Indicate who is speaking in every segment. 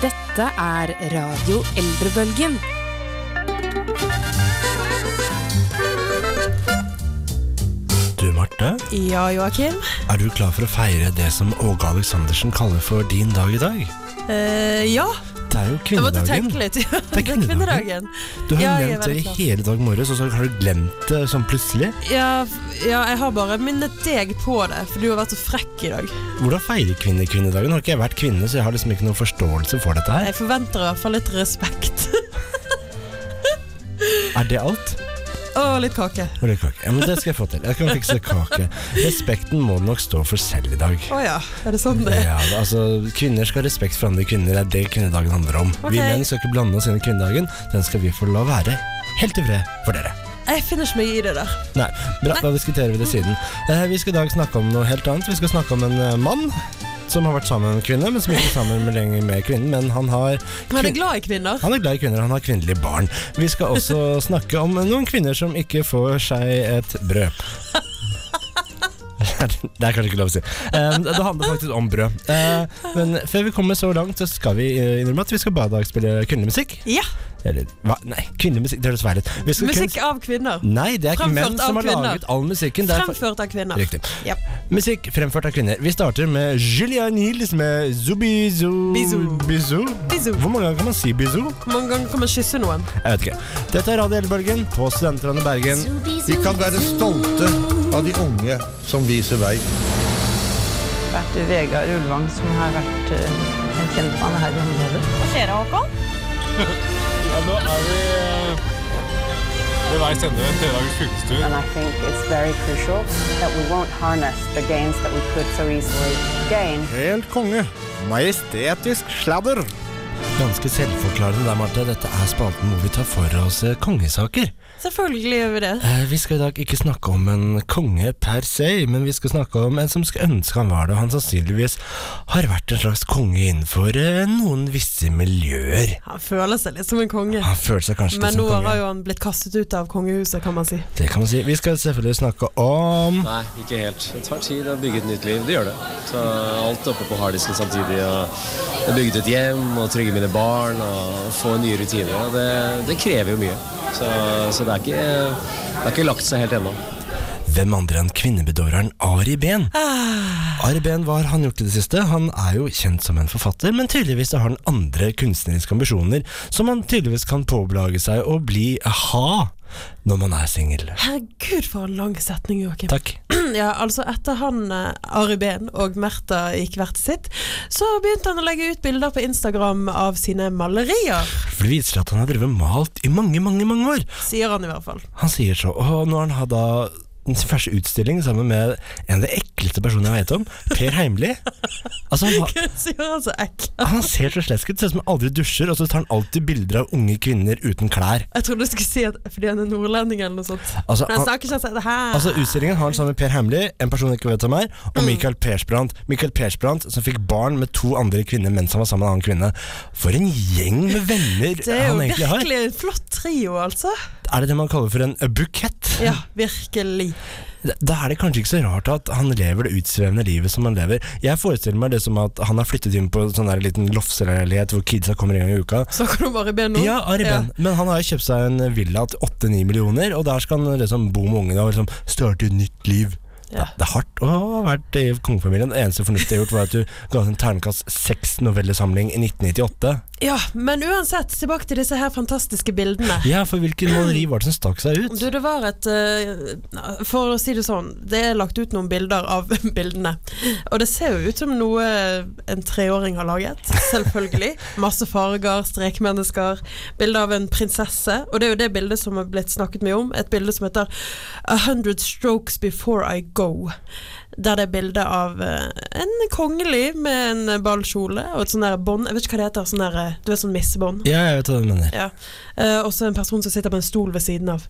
Speaker 1: Dette er Radio Eldrebølgen.
Speaker 2: Du, Marte,
Speaker 3: Ja, Joakim.
Speaker 2: er du klar for å feire det som Åge Aleksandersen kaller for din dag i dag?
Speaker 3: Eh, ja,
Speaker 2: Det er jo
Speaker 3: jeg måtte tenke
Speaker 2: kvinnedagen.
Speaker 3: litt. Ja,
Speaker 2: er kvinnedagen. Du har jo
Speaker 3: Ja, jeg er
Speaker 2: nevnt det
Speaker 3: veldig
Speaker 2: i
Speaker 3: klar.
Speaker 2: hele dag morges, og så har du glemt det sånn plutselig.
Speaker 3: Ja, f- ja, jeg har bare minnet deg på det, for du har vært så frekk i dag.
Speaker 2: Hvordan feirer kvinner kvinnedagen? Har ikke jeg vært kvinne, så jeg har liksom ikke noen forståelse for dette her.
Speaker 3: Jeg forventer i hvert fall litt respekt.
Speaker 2: Er det alt?
Speaker 3: Og litt kake.
Speaker 2: Og det er kake. Ja, men det skal jeg få til. Jeg kan fikse kake. Respekten må du nok stå for selv i dag.
Speaker 3: Å ja, er det sånn det er?
Speaker 2: Ja, altså Kvinner skal ha respekt for andre kvinner. Det er det kvinnedagen handler om.
Speaker 3: Ok.
Speaker 2: Vi menn skal ikke blande oss inn i kvinnedagen. Den skal vi få la være helt i fred for dere.
Speaker 3: Jeg finner ikke meg i det der.
Speaker 2: Nei, bra, da diskuterer vi det siden. Eh, vi skal i dag snakke om noe helt annet. Vi skal snakke om en eh, mann som har vært sammen med en kvinne, men som ikke er sammen med lenger med kvinnen. Men han har
Speaker 3: Men jeg
Speaker 2: kvin-
Speaker 3: er glad i kvinner.
Speaker 2: han er glad i kvinner, han har kvinnelige barn. Vi skal også snakke om noen kvinner som ikke får seg et brød. Det er kanskje ikke lov å si. Eh, Det handler faktisk om brød. Eh, Men før vi kommer så langt, så skal vi eh, innrømme at vi skal bare i dag spille kvinnemusikk.
Speaker 3: Ja,
Speaker 2: Eller hva? Nei, kvinnemusikk, det høres feil ut. Vi skal kun-
Speaker 3: Musikk av kvinner.
Speaker 2: Nei, det er ikke
Speaker 3: Fremført
Speaker 2: menn som
Speaker 3: av
Speaker 2: har laget all musikken. Det er fa-
Speaker 3: Fremført av kvinner.
Speaker 2: Riktig.
Speaker 3: Ah, Ja.
Speaker 2: Musikk fremført av kvinner. Vi starter med Julia Niels med Zubizu
Speaker 3: Bizou.
Speaker 2: Bizou.
Speaker 3: Bizou.
Speaker 2: Hvor mange ganger kan man si bizou?
Speaker 3: Hvor mange ganger kan man kysse noen?
Speaker 2: Jeg vet ikke. Dette er Radio Elbølgen på Studenterne Bergen.
Speaker 4: Vi kan være stolte av de unge som viser vei.
Speaker 5: vært Vegard Ulvang som har vært eh, en kjentmann her i området.
Speaker 6: Ja, nå er vi ved veis ende ved en tredagers fylkestur.
Speaker 7: And I think it's very crucial that we won't harness the gains that we could so easily gain.
Speaker 4: Helt konge. Majestetisk sladder.
Speaker 2: Ganske selvforklarende der, Marte. Dette er spalten hvor vi tar for oss eh, kongesaker.
Speaker 3: Selvfølgelig gjør vi det.
Speaker 2: Eh, Vi skal i dag ikke snakke om en konge per se, men vi skal snakke om en som skulle ønske han var det, og han sannsynligvis har vært en slags konge innenfor eh, noen visse miljøer.
Speaker 3: Han føler seg litt som en konge.
Speaker 2: Han føler seg kanskje
Speaker 3: Men
Speaker 2: litt
Speaker 3: nå
Speaker 2: Ah, som konge.
Speaker 3: har jo han blitt kastet ut av kongehuset, kan man si.
Speaker 2: Det kan man si. Vi skal selvfølgelig snakke om
Speaker 8: Nei, ikke helt. Det tar tid å bygge et nytt liv. Det gjør det. Så alt oppe på harddisken samtidig. Og jeg bygget et hjem og trygge mine barn og få nye rutiner. Og det, det krever jo mye. Så, så det, er ikke, det har ikke lagt seg helt ennå.
Speaker 2: Hvem andre enn kvinnebedåreren Ari Behn?
Speaker 3: Ah.
Speaker 2: Ari Behn, hva har han gjort i det siste? Han er jo kjent som en forfatter, men tydeligvis så har han andre kunstneriske ambisjoner som han tydeligvis kan påblage seg å bli ha når man er singel.
Speaker 3: Herregud, for en lang setning, Joakim.
Speaker 2: Takk.
Speaker 3: Ja, altså etter han eh, Ari Behn og Märtha gikk hvert sitt, så begynte han å legge ut bilder på Instagram av sine malerier,
Speaker 2: For det viser at han har drevet malt i mange, mange, mange år.
Speaker 3: sier han i hvert fall.
Speaker 2: Han sier så, og nå har han hatt da sin første utstilling sammen med en av de ekleste personene jeg vet om, Per Heimli. Altså, han, har-
Speaker 3: sier han så ekkel.
Speaker 2: han ser så slesk ut, ser ut som han aldri dusjer, og så tar han alltid bilder av unge kvinner uten klær.
Speaker 3: Jeg trodde du skulle si at fordi han er nordlending eller noe sånt.
Speaker 2: Altså,
Speaker 3: Men han
Speaker 2: han-
Speaker 3: snakker ikke sånn det her.
Speaker 2: Altså Utstillingen har han sammen med Per Hemli, en person jeg ikke vet hvem er, og
Speaker 3: Mm.
Speaker 2: Michael Persbrandt. Michael Persbrandt som fikk barn med to andre kvinner mens han var sammen med en annen kvinne. For en gjeng med venner
Speaker 3: det er jo
Speaker 2: han egentlig har!
Speaker 3: virkelig en flott trio, altså.
Speaker 2: Er det det man kaller for en eh, bukett?
Speaker 3: Ja, virkelig.
Speaker 2: Da er det kanskje ikke så rart at han lever det utsvevende livet som han lever. Jeg forestiller meg det som at han har flyttet inn på en sånn der liten lofseleilighet hvor kidsa kommer en gang i uka.
Speaker 3: Snakker du om Ari Behn nå?
Speaker 2: Ja, Ari Behn. Men han har jo kjøpt seg en villa til 8-9 millioner, og der skal han liksom bo med ungene og liksom starte et nytt liv.
Speaker 3: Ja.
Speaker 2: Det er hardt å ha vært i kongefamilien. Det eneste fornuftige jeg har gjort, var at du ga ut en ternekast seks novellesamling i 1998.
Speaker 3: Ja, men uansett, tilbake til disse her fantastiske bildene.
Speaker 2: Ja, for hvilken maleri var det som stakk seg ut?
Speaker 3: Du, det var et eh, For å si det sånn, det er lagt ut noen bilder av bildene. Og det ser jo ut som noe en treåring har laget, selvfølgelig. Masse farger, strekmennesker, bilde av en prinsesse. Og det er jo det bildet som har blitt snakket mye om, et bilde som heter A Hundred Strokes Before I Go. Der det er bilde av eh, en kongelig med en ballkjole og et sånn der bånd Jeg vet ikke hva det heter, sånn der, eh, du vet sånn missebånd?
Speaker 2: Ja, jeg vet hva du mener.
Speaker 3: Ja. Eh, også en person som sitter på en stol ved siden av.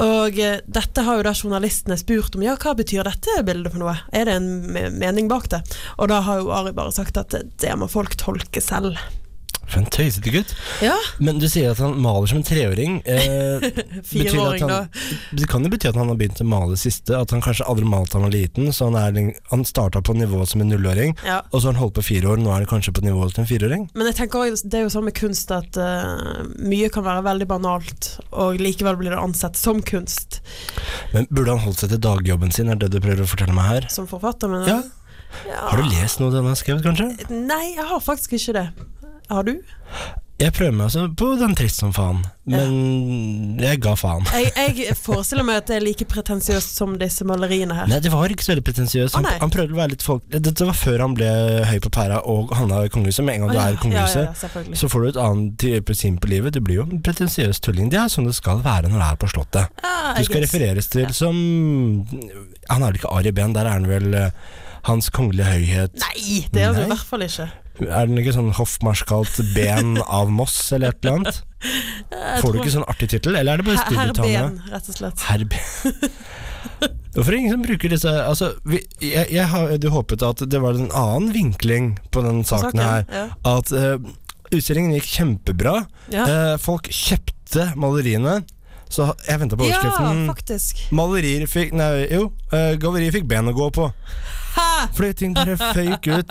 Speaker 3: Og eh, dette har jo da journalistene spurt om, ja, hva betyr dette bildet for noe? Er det en me- mening bak det? Og da har jo Ari bare sagt at eh, det må folk tolke selv.
Speaker 2: For en tøysete gutt.
Speaker 3: Ja,
Speaker 2: Men du sier at han maler som en treåring. Eh, betyr det at
Speaker 3: Fireåring,
Speaker 2: han, Det kan jo bety at han har begynt å male siste. At han kanskje aldri malte da han var liten. Så han, er, leng- han starta på nivå som en nullåring,
Speaker 3: ja.
Speaker 2: og så har han holdt på fire år. Nå er han kanskje på nivået til en fireåring.
Speaker 3: Men jeg tenker også, det er jo sånn med kunst at eh, mye kan være veldig banalt, og likevel blir det ansett som kunst
Speaker 2: Men burde han holdt seg til dagjobben sin, er det du prøver å fortelle meg her?
Speaker 3: som forfatter. Men,
Speaker 2: Ja.
Speaker 3: Ja.
Speaker 2: Har du lest noe av det han har skrevet, kanskje?
Speaker 3: Nei, jeg har faktisk ikke det. Har du?
Speaker 2: Jeg prøver meg altså på den trist som faen, men jeg ga faen.
Speaker 3: Jeg, jeg forestiller meg at det er like pretensiøst som disse maleriene her.
Speaker 2: Nei, det var ikke så veldig pretensiøst. Han,
Speaker 3: Å, nei.
Speaker 2: han prøvde å være litt folk... Dette var før han ble høy på pæra og havna i kongehuset. Med en gang
Speaker 3: Å,
Speaker 2: du
Speaker 3: ja,
Speaker 2: er i kongehuset,
Speaker 3: Ja, ja, selvfølgelig.
Speaker 2: Så får du et annet type syn på livet. Du blir jo en pretensiøs tulling. Det er sånn det skal være når du er på Slottet.
Speaker 3: Ja,
Speaker 2: Du
Speaker 3: Ah, jeg
Speaker 2: skal
Speaker 3: guess.
Speaker 2: refereres til som Han er vel ikke Ari Behn, der er han vel eh, Hans Kongelige Høyhet.
Speaker 3: Nei, det er det
Speaker 2: Nei.
Speaker 3: i hvert fall ikke.
Speaker 2: Er den ikke sånn hoffmarskalt Ben av Moss, eller et eller annet?
Speaker 3: Jeg
Speaker 2: Får du
Speaker 3: tror-
Speaker 2: ikke sånn artig tittel, eller er det bare
Speaker 3: Her- Herr
Speaker 2: studietallene?
Speaker 3: Ben, rett og slett.
Speaker 2: Herr Ben. Hvorfor er det ingen som bruker disse Altså, vi, jeg, jeg hadde håpet at det var en annen vinkling på den saken her.
Speaker 3: Ja.
Speaker 2: At eh, utstillingen gikk kjempebra.
Speaker 3: Ja.
Speaker 2: Eh, folk kjøpte maleriene, så jeg venta på overskriften.
Speaker 3: ja, faktisk.
Speaker 2: Malerier fikk Nei, jo. eh, gallerier fikk ben å gå på.
Speaker 3: Hæ?
Speaker 2: Fordi ting bare føyk ut.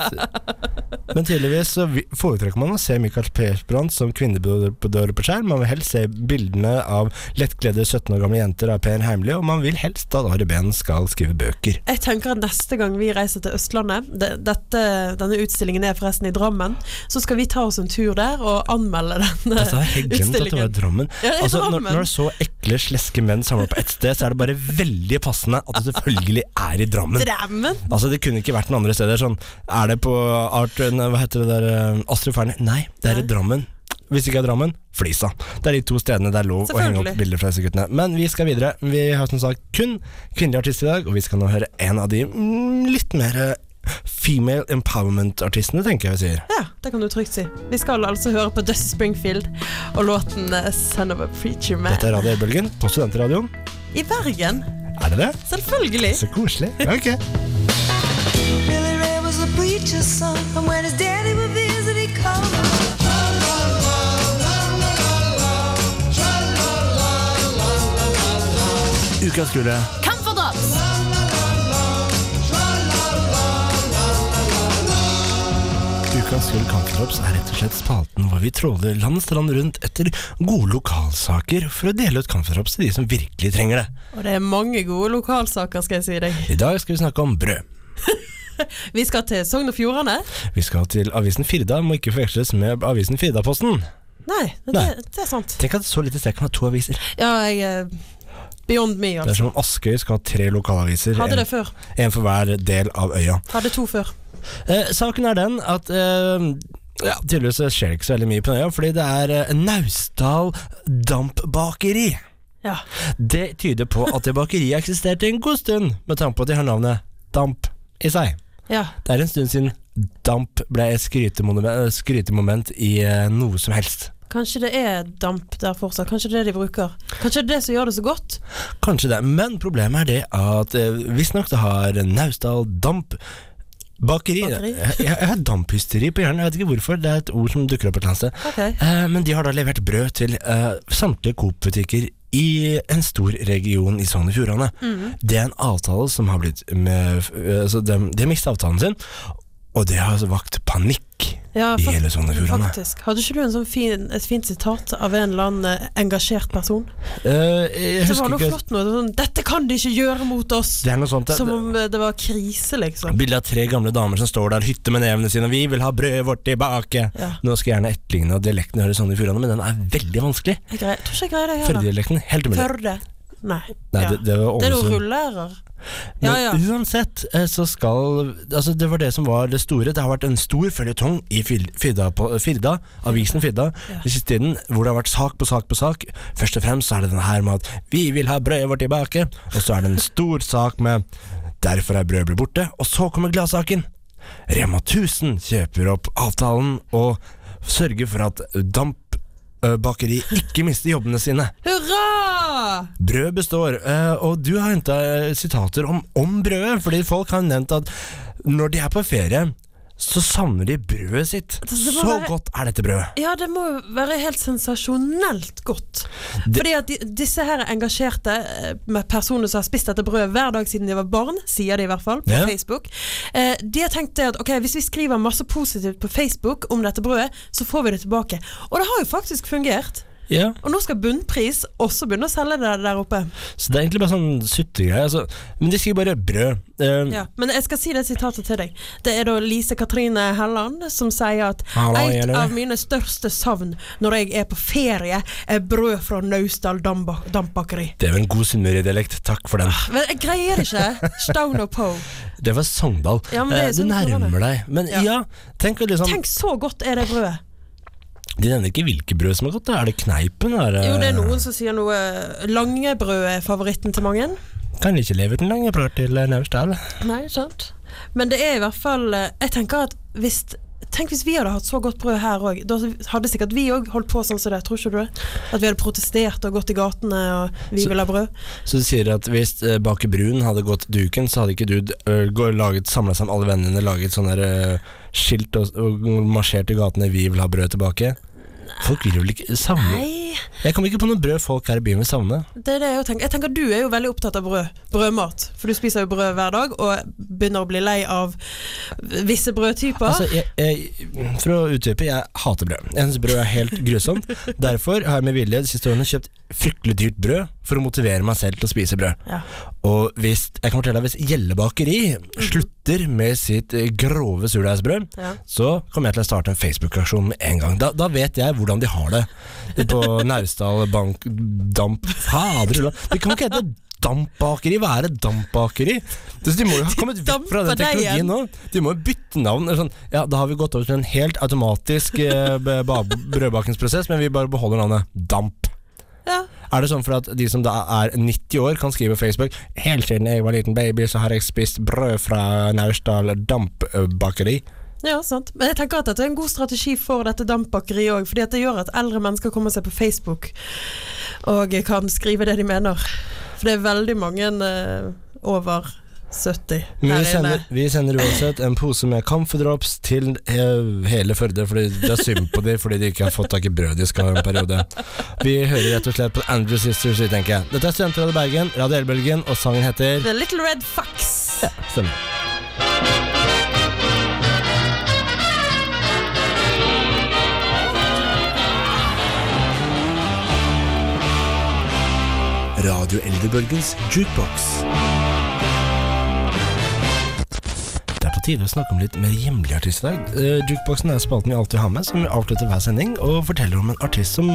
Speaker 2: Men tydeligvis så vi- foretrekker man å se Michael Persbrandt som kvinnebedører på skjerm. Man vil helst se bildene av lettkledde 17 år gamle jenter av Per Heimly, og man vil helst at Ari Behn skal skrive bøker.
Speaker 3: Jeg tenker at neste gang vi reiser til Østlandet det- dette, Denne utstillingen er forresten i Drammen. Så skal vi ta oss en tur der og anmelde denne.
Speaker 2: Altså, jeg har glemt at det var
Speaker 3: Utstillingen.
Speaker 2: Drammen.
Speaker 3: Ja, i
Speaker 2: Altså, når,
Speaker 3: Drammen.
Speaker 2: når så ekle, sleske menn samler på ett sted, så er det bare veldig passende at det selvfølgelig er i Drammen.
Speaker 3: Drammen!
Speaker 2: Altså Det kunne ikke vært noen andre steder. Sånn, er det på Art nei, Hva heter det der eh, Astrid Fearnley? Nei, det er i
Speaker 3: Nei.
Speaker 2: Drammen. Hvis ikke er Drammen, Flisa. Det er de to stedene det er lov å henge opp
Speaker 3: Selvfølgelig.
Speaker 2: bilder fra disse guttene. Men vi skal videre. Vi har som sagt kun kvinnelige artister i dag, og vi skal nå høre en av de mm, litt mer eh, female empowerment-artistene, tenker jeg vi sier.
Speaker 3: Ja, det kan du trygt si. Vi skal altså høre på Dust Springfield og låten eh, 'Son of a Preacher
Speaker 2: Dette
Speaker 3: Man'
Speaker 2: er Radio Elbølgen på Studentradioen.
Speaker 3: i Bergen.
Speaker 2: Er det det?
Speaker 3: Selvfølgelig!
Speaker 2: Så koselig. Ja, ok.
Speaker 9: Billy Ray was a preacher's son, and when his daddy would visit, he'd come.
Speaker 2: Ukas gule. Ukas Gull Kampdrops er rett og slett spalten hvor vi tråler land og strand rundt etter gode lokalsaker for å dele ut kampdrops til de som virkelig trenger det.
Speaker 3: Og det er mange gode lokalsaker, skal jeg si deg.
Speaker 2: I dag skal vi snakke om brød.
Speaker 3: Vi skal til Sogn og Fjordane.
Speaker 2: Vi skal til avisen Firda, må ikke forveksles med avisen Firdaposten.
Speaker 3: Nei, det,
Speaker 2: Nei.
Speaker 3: det er sant.
Speaker 2: Tenk at så lite sted kan ha to aviser.
Speaker 3: Ja, jeg eh, Beyond me,
Speaker 2: Det er
Speaker 3: altså.
Speaker 2: som om Askøy skal ha tre lokalaviser, en,
Speaker 3: Hadde det før.
Speaker 2: en for hver del av øya.
Speaker 3: Hadde to før.
Speaker 2: Eh, saken er den at eh, ja, tydeligvis så skjer det ikke så veldig mye på Nøya, fordi det er eh, Naustdal Dampbakeri.
Speaker 3: Ja.
Speaker 2: Det tyder på at det bakeriet eksisterte en god stund, med tanke på at de har navnet Damp i seg.
Speaker 3: ja.
Speaker 2: Det er en stund siden Damp ble et skrytemonument, eh, skrytemoment i eh, noe som helst.
Speaker 3: Kanskje det er damp der fortsatt. Kanskje det er det de bruker. Kanskje det er det som gjør det så godt.
Speaker 2: Kanskje det, men problemet er det at eh, visstnok det har Naustdal Damp Bakeri.
Speaker 3: Bakeri.
Speaker 2: Jeg, jeg jeg har damphysteri på hjernen, jeg vet ikke hvorfor. Det er et ord som dukker opp et eller annet sted.
Speaker 3: Ok.
Speaker 2: Eh, Men de har da levert brød til eh, samtlige Coop-butikker i en stor region i Sogn og Fjordane.
Speaker 3: Mhm.
Speaker 2: Det er en avtale som har blitt med, eh, Så de, de har mistet avtalen sin, og det har altså vakt panikk
Speaker 3: Ja,
Speaker 2: i
Speaker 3: fak-
Speaker 2: hele Sogn og Fjordane.
Speaker 3: faktisk. Hadde ikke du en sånn fin, et fint sitat av en eller annen eh, engasjert person?
Speaker 2: Eh, jeg
Speaker 3: Det var
Speaker 2: husker
Speaker 3: noe
Speaker 2: ikke
Speaker 3: flott noe sånn 'Dette kan de ikke gjøre mot oss!'
Speaker 2: Det er noe sånt.
Speaker 3: Som
Speaker 2: Det,
Speaker 3: om eh, det var krise, liksom.
Speaker 2: Bilde av tre gamle damer som står der, hytte med nevene sine, og 'vi vil ha brødet vårt tilbake'.
Speaker 3: Ja.
Speaker 2: Nå skal jeg gjerne etterligne at dialekten hører Sogn og Fjordane, men den er veldig vanskelig.
Speaker 3: Jeg, greier, jeg tror ikke jeg greier det heller.
Speaker 2: Førdialekten, helt umulig.
Speaker 3: Førde. Nei.
Speaker 2: Nei,
Speaker 3: ja.
Speaker 2: det, det var
Speaker 3: det er noen
Speaker 2: Ålesund.
Speaker 3: rullærer.
Speaker 2: Men
Speaker 3: Ja, ja.
Speaker 2: uansett eh, så skal Altså Det var det som var det store. Det har vært en stor føljetong i Fil- Firda, på, Firda avisen Firda
Speaker 3: Ja.
Speaker 2: den siste tiden, hvor det har vært sak på sak på sak. Først og fremst så er det den her med at 'vi vil ha brødet vårt tilbake', og så er det en stor sak med 'derfor er brødet blitt borte', og så kommer gladsaken. Rema 1000 kjøper opp avtalen og sørger for at Damp eh, Bakeri ikke mister jobbene sine.
Speaker 3: Hurra!
Speaker 2: Brød består, eh, og du har eh, henta sitater om, om brødet, fordi folk har nevnt at når de er på ferie, så savner de brødet sitt.
Speaker 3: Altså, Det må
Speaker 2: Så
Speaker 3: være-
Speaker 2: godt er dette brødet.
Speaker 3: Ja, det må jo være helt sensasjonelt godt.
Speaker 2: Det-
Speaker 3: Fordi at de, disse her engasjerte eh, med personer som har spist dette brødet hver dag siden de var barn, sier de i hvert fall på
Speaker 2: Ja.
Speaker 3: Facebook, eh, de har tenkt det at ok, hvis vi skriver masse positivt på Facebook om dette brødet, så får vi det tilbake. Og det har jo faktisk fungert.
Speaker 2: Ja.
Speaker 3: Og nå skal Bunnpris også begynne å selge det der oppe.
Speaker 2: Så det er egentlig bare sånn suttegreier. Altså. Men de skriver bare brød. Eh,
Speaker 3: Ja, men jeg skal si det sitatet til deg. Det er da Lise Katrine Helland som sier at
Speaker 2: Hallo,
Speaker 3: et
Speaker 2: Jenny.
Speaker 3: av mine største savn når jeg er på ferie, er brød fra Naustdal damba- dampbakeri.
Speaker 2: Det var en god Sunnmøre-dialekt. Takk for den.
Speaker 3: Men jeg greier ikke. Stone og po.
Speaker 2: Det var Sogndal.
Speaker 3: Ja, men det er
Speaker 2: Eh, du
Speaker 3: sånn det
Speaker 2: nærmer
Speaker 3: var
Speaker 2: deg. Men
Speaker 3: Ja.
Speaker 2: ja, tenk at liksom
Speaker 3: Tenk så godt er det brødet.
Speaker 2: De nevner ikke hvilke brød som er godt. da. Er det kneipen? Er det,
Speaker 3: Jo, det er noen som sier noe Langebrød er favoritten til mange.
Speaker 2: Kan ikke leve uten lange brød til eh, Naustdal.
Speaker 3: Nei, sant. Men det er i hvert fall eh, Jeg tenker at hvis Tenk hvis vi hadde hatt så godt brød her òg. Da hadde sikkert vi òg holdt på sånn som det. Tror ikke du det? At vi hadde protestert og gått i gatene og vi
Speaker 2: Så-
Speaker 3: vil ha brød.
Speaker 2: Så du sier at hvis eh, Baker Brun hadde gått duken, så hadde ikke du eh, gå- laget, samla sammen alle vennene dine, laget sånne der, eh, skilt og, og marsjert i gatene 'Vi vil ha brød tilbake'? Folk vil vel ikke savne
Speaker 3: Nei,
Speaker 2: Jeg kommer ikke på noe brød folk her i byen vil savne.
Speaker 3: det er det jeg tenker. Jeg tenker Du er jo veldig opptatt av brød. Brødmat. For du spiser jo brød hver dag og begynner å bli lei av visse brødtyper.
Speaker 2: Altså, jeg, jeg, for å utdype, jeg hater brød. Jeg syns brød er helt grusomt. Derfor har jeg med vilje de siste årene kjøpt fryktelig dyrt brød for å motivere meg selv til å spise brød.
Speaker 3: Ja.
Speaker 2: Og hvis, jeg kan fortelle deg, hvis Gjelle bakeri
Speaker 3: Mhm.
Speaker 2: slutter med sitt eh, grove surdeigsbrød,
Speaker 3: Ja.
Speaker 2: så kommer jeg til å starte en Facebook-aksjon med en gang. Da, da vet jeg hvordan de har det på Naustdal Bank Damp Fader ulla! Det kan ikke hete dampbakeri. Hva er et dampbakeri? Så De må jo ha kommet vekk fra
Speaker 3: damper
Speaker 2: den
Speaker 3: deg igjen.
Speaker 2: teknologien nå. De må jo bytte navn. eller Sånn. Ja, da har vi gått over til en helt automatisk eh, b- ba- brødbakingsprosess, men vi bare beholder navnet Damp.
Speaker 3: Ja.
Speaker 2: Er det sånn for at de som da er 90 år, kan skrive på Facebook Helt siden jeg var liten baby, så har jeg spist brød fra Naustdal dampbakeri.
Speaker 3: Ja, sant. Men jeg tenker at dette er en god strategi for dette dampbakeriet òg. Fordi at det gjør at eldre mennesker kommer seg på Facebook og kan skrive det de mener. For det er veldig mange eh, over 70
Speaker 2: Men vi
Speaker 3: her inne.
Speaker 2: sender, vi sender uansett en pose med camphordrops til eh, hele Førde, fordi det er synd på dem fordi de ikke har fått tak i brød de skal ha en periode. Vi hører rett og slett på Andrew Sisters, vi tenker jeg. Dette er Studentrådet Bergen, Radio Elbølgen, og sangen heter
Speaker 3: The Little Red Fox.
Speaker 2: Stemmer.
Speaker 4: Radio Eldrebølgens jukebox.
Speaker 2: Det er på tide å snakke om litt mer hjemlige artister i dag. Eh, jukeboxen er spalten vi alltid har med, som avslutter hver sending og forteller om en artist som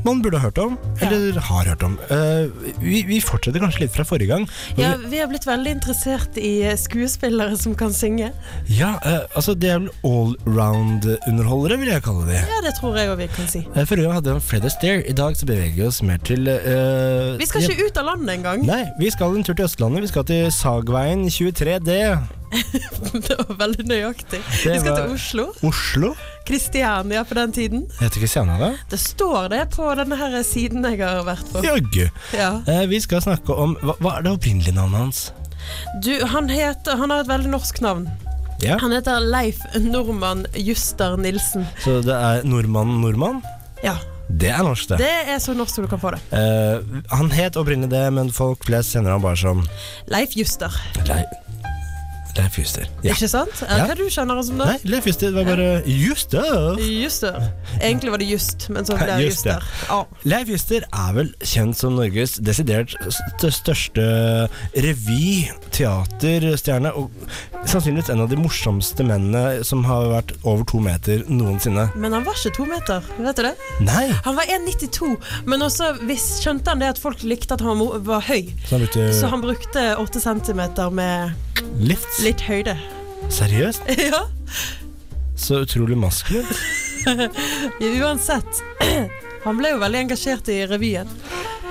Speaker 2: man burde ha hørt om, eller har hørt om. Eh, vi, vi fortsetter kanskje litt fra forrige gang. men
Speaker 3: Ja, vi har blitt veldig interessert i eh, skuespillere som kan synge.
Speaker 2: Ja, eh, altså de er vel allround-underholdere, vil jeg kalle de.
Speaker 3: Ja, det tror jeg òg vi kan si.
Speaker 2: Eh, Forrige gang hadde vi en Fred Astaire. I dag så beveger vi oss mer til eh,
Speaker 3: Vi skal
Speaker 2: ja,
Speaker 3: ikke ut av landet engang.
Speaker 2: Nei, vi skal en tur til Østlandet. Vi skal til Sagveien 23D.
Speaker 3: Det var veldig nøyaktig. Vi
Speaker 2: Det
Speaker 3: skal
Speaker 2: var-
Speaker 3: til Oslo.
Speaker 2: Oslo?
Speaker 3: Kristiania på den tiden.
Speaker 2: Jeg heter Kristiana, da?
Speaker 3: Det står det på denne her siden jeg har vært på.
Speaker 2: Jaggu.
Speaker 3: Ja.
Speaker 2: Eh, vi skal snakke om hva, hva er det opprinnelige navnet hans?
Speaker 3: Du, han, heter, han har et veldig norsk navn.
Speaker 2: Ja,
Speaker 3: Han heter Leif Normann Juster Nilsen.
Speaker 2: Så det er nordmannen Nordmann?
Speaker 3: Ja,
Speaker 2: Det er norsk, det.
Speaker 3: Det er så norsk som du kan få det.
Speaker 2: Eh, han het opprinnelig det, men folk flest kjenner han bare som
Speaker 3: Leif Juster,
Speaker 2: Leif, Leif Juster. Ja.
Speaker 3: ikke sant? Er
Speaker 2: Ja.
Speaker 3: det hva du kjenner han som da?
Speaker 2: Nei, Leif Juster det var bare Juster!
Speaker 3: Juster. Egentlig var det Just, men så ble det
Speaker 2: Just, ja.
Speaker 3: Juster. Ja.
Speaker 2: Leif Juster er vel kjent som Norges desidert st største revy, teaterstjerne, og sannsynligvis en av de morsomste mennene som har vært over to meter noensinne.
Speaker 3: Men han var ikke to meter, vet du det?
Speaker 2: Nei!
Speaker 3: Han var 1,92, men også visst skjønte han det at folk likte at han mo- var høy.
Speaker 2: Så han brukte
Speaker 3: Så han brukte 8 centimeter med
Speaker 2: eh, lift.
Speaker 3: litt høyde.
Speaker 2: Seriøst?
Speaker 3: ja.
Speaker 2: Så utrolig maskulin.
Speaker 3: Uansett. Han ble jo veldig engasjert i revyen.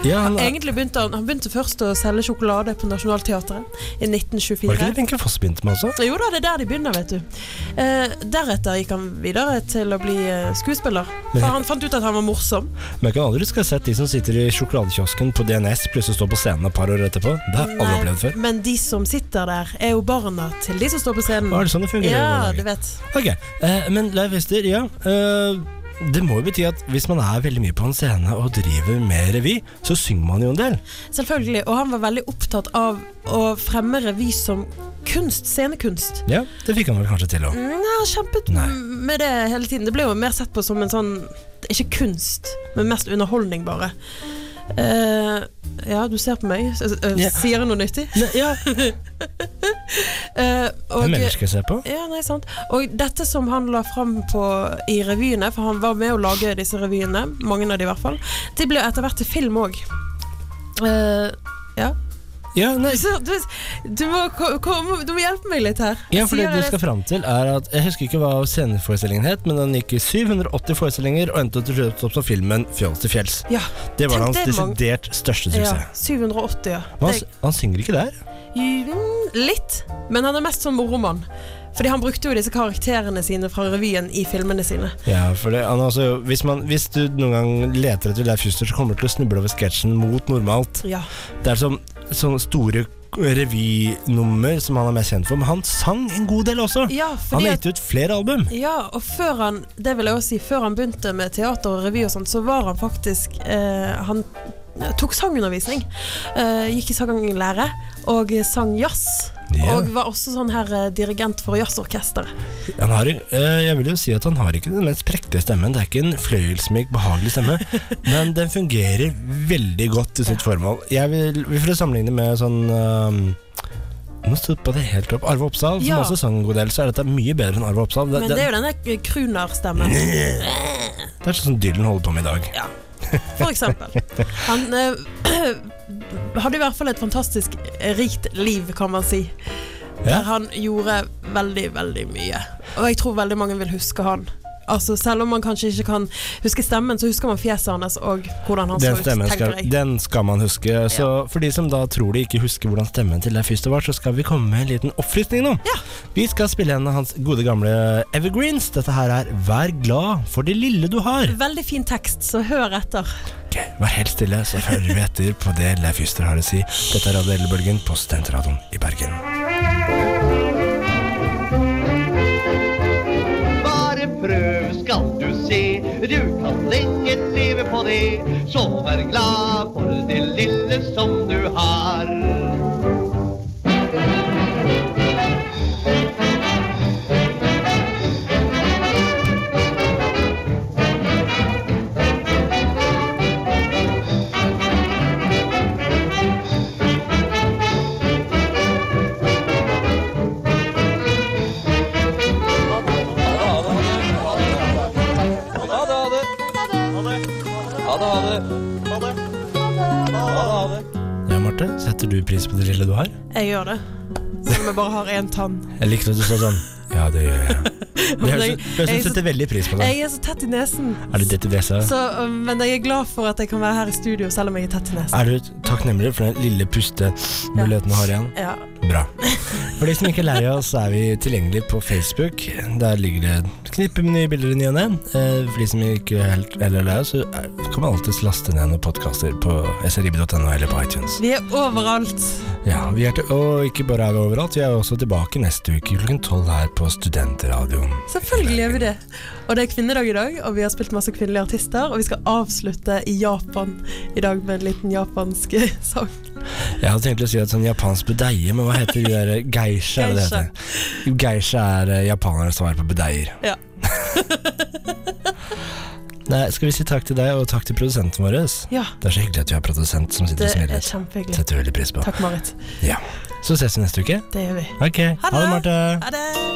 Speaker 2: Ja, han, var
Speaker 3: Egentlig begynte han, han begynte først å selge sjokolade på Nationaltheatret i 1924.
Speaker 2: det ikke det Wenche Foss begynte med også?
Speaker 3: Jo da, det er der de begynner, vet du. Eh, deretter gikk han videre til å bli eh, skuespiller. For han fant ut at han var morsom.
Speaker 2: Men jeg kan aldri huske å ha sett de som sitter i sjokoladekiosken på DNS plutselig står på scenen et par år etterpå. Det har jeg aldri
Speaker 3: Nei,
Speaker 2: opplevd før.
Speaker 3: Men de som sitter der, er jo barna til de som står på scenen.
Speaker 2: Hva er det sånn det fungerer? i
Speaker 3: Ja,
Speaker 2: Norge?
Speaker 3: du vet.
Speaker 2: Ok, eh, men Leif Ester, ja eh, Det må jo bety at hvis man er veldig mye på en scene og driver med revy, så synger man jo en del.
Speaker 3: Selvfølgelig. Og han var veldig opptatt av å fremme revy som kunst, scenekunst.
Speaker 2: Ja, Det fikk han vel kanskje til òg.
Speaker 3: Nei, han Mm, kjempet
Speaker 2: Nei.
Speaker 3: med det hele tiden. Det ble jo mer sett på som en sånn Ikke kunst, men mest underholdning, bare. Eh, ja, du ser på meg. S- s- eh,
Speaker 2: Ja.
Speaker 3: Sier jeg noe nyttig?
Speaker 2: Ja,
Speaker 3: Eh, og-
Speaker 2: det er mennesker jeg ser på.
Speaker 3: Ja, nei, sant. Og dette som han la fram på, i revyene, for han var med å lage disse revyene, mange av de i hvert fall, de ble etter hvert til film òg. ja.
Speaker 2: Ja, nei,
Speaker 3: Så du, du, må, ko- komme- du må hjelpe meg litt her.
Speaker 2: Ja, for det
Speaker 3: Sier
Speaker 2: du
Speaker 3: jeg
Speaker 2: skal fram til er at Jeg husker ikke hva sceneforestillingen het, men den gikk i 780 forestillinger og endte til slutt opp som filmen 'Fjols til fjells'.
Speaker 3: Ja,
Speaker 2: Det var
Speaker 3: tenk
Speaker 2: hans
Speaker 3: det, Mang.
Speaker 2: desidert største
Speaker 3: ja,
Speaker 2: suksess.
Speaker 3: 780, ja.
Speaker 2: Men han,
Speaker 3: Det,
Speaker 2: s- han synger ikke der.
Speaker 3: Mm, litt, men han er mest sånn moromann. Fordi han brukte jo disse karakterene sine fra revyen i filmene sine.
Speaker 2: Ja, for det, han, er altså, hvis, man, hvis du noen gang leter etter Leif Juster, så kommer du til å snuble over sketsjen mot normalt.
Speaker 3: Ja.
Speaker 2: Det er som sånne store k- revynummer som han er mest kjent for, men han sang en god del også.
Speaker 3: Ja,
Speaker 2: Han
Speaker 3: fordi at
Speaker 2: har gitt ut flere album.
Speaker 3: Ja, og før han, det vil jeg også si, før han begynte med teater og revy og sånt, så var han faktisk eh, Han tok sangundervisning. Eh, gikk i sanglære og sang jazz.
Speaker 2: Ja.
Speaker 3: Og var også sånn her eh, dirigent for jazzorkester.
Speaker 2: Han har, eh, jeg vil jo si at han har ikke den mest prektige stemmen. Det er ikke en fløyelsmyk, behagelig stemme, men den fungerer veldig godt til sitt formål. Jeg vil, For å sammenligne med sånn eh, nå stoppa det helt opp. Arve Oppsal, som
Speaker 3: Ja.
Speaker 2: også sang en god del, så er dette mye bedre enn Arve Oppsal. Det,
Speaker 3: Men
Speaker 2: det,
Speaker 3: det
Speaker 2: det,
Speaker 3: er jo denne krunerstemmen,
Speaker 2: er sånn som Dylan holder på med i dag.
Speaker 3: for eksempel. Han eh, hadde i hvert fall et fantastisk rikt liv, kan man si.
Speaker 2: Ja.
Speaker 3: Der han gjorde veldig, veldig mye. Og jeg tror veldig mange vil huske han. Altså, selv om man kanskje ikke kan huske stemmen, så husker man fjeset hans og hvordan han så
Speaker 2: Den
Speaker 3: ut.
Speaker 2: stemmen
Speaker 3: tenker
Speaker 2: skal,
Speaker 3: jeg.
Speaker 2: den skal man huske. Så for de som da tror de ikke husker hvordan stemmen til Leif Juster var, så skal vi komme med en liten oppfriskning nå.
Speaker 3: Ja.
Speaker 2: Vi skal spille en av hans gode gamle evergreens. Dette her er Vær glad for det lille du har.
Speaker 3: Veldig fin tekst, så hør etter.
Speaker 2: Ok, Vær helt stille, så følger vi etter på det Leif Juster har å si. Dette er Radio Ellebølgen på Studentradioen i Bergen.
Speaker 10: Bare prøv skal du se, du kan lenge leve på det. Så vær glad for det lille som du har.
Speaker 2: Ja, Marte, setter du pris på det lille du har?
Speaker 3: Jeg gjør det. Selv om jeg bare har én tann.
Speaker 2: Jeg likte at du sa sånn. Ja, det gjør jeg. Det høres
Speaker 3: Jeg-
Speaker 2: ut det høres ut som
Speaker 3: jeg-
Speaker 2: du setter veldig pris på det.
Speaker 3: Jeg er så tett i nesen,
Speaker 2: Er du dette
Speaker 3: så, øh, men jeg er glad for at jeg kan være her i studio selv om jeg er tett i nesen.
Speaker 2: Er du takknemlig for den lille pustemuligheten du har igjen?
Speaker 3: Ja.
Speaker 2: Bra. For de som ikke er lei av oss, så er vi tilgjengelig på Facebook. Der ligger det et knippe med nye bilder i ny og ne. Eh, For de som ikke er helt eller er lei av oss, så er- kan man alltids laste ned noen podkaster på srib.no eller på iTunes.
Speaker 3: Vi er overalt.
Speaker 2: Ja, vi er til, og ikke bare er vi overalt, vi er også tilbake neste uke klokken tolv her på Studentradioen.
Speaker 3: Selvfølgelig gjør vi det. Og det er kvinnedag i dag, og vi har spilt masse kvinnelige artister. Og vi skal avslutte i Japan i dag med en liten japansk sang.
Speaker 2: Jeg hadde tenkt å si at sånn japansk budeie, men hva heter de der geisha? er det det heter? Geisha er eh, japanere som er på budeier.
Speaker 3: Ja.
Speaker 2: Nei, skal vi si takk til deg, og takk til produsenten vår.
Speaker 3: Ja,
Speaker 2: Det er så hyggelig at vi har produsent som sitter
Speaker 3: det
Speaker 2: og smiler.
Speaker 3: er kjempehyggelig.
Speaker 2: Setter vi veldig pris på.
Speaker 3: Takk, Marit.
Speaker 2: Så ses vi neste uke.
Speaker 3: Det gjør vi.
Speaker 2: Ok, ha det, Marte.
Speaker 3: Ha det.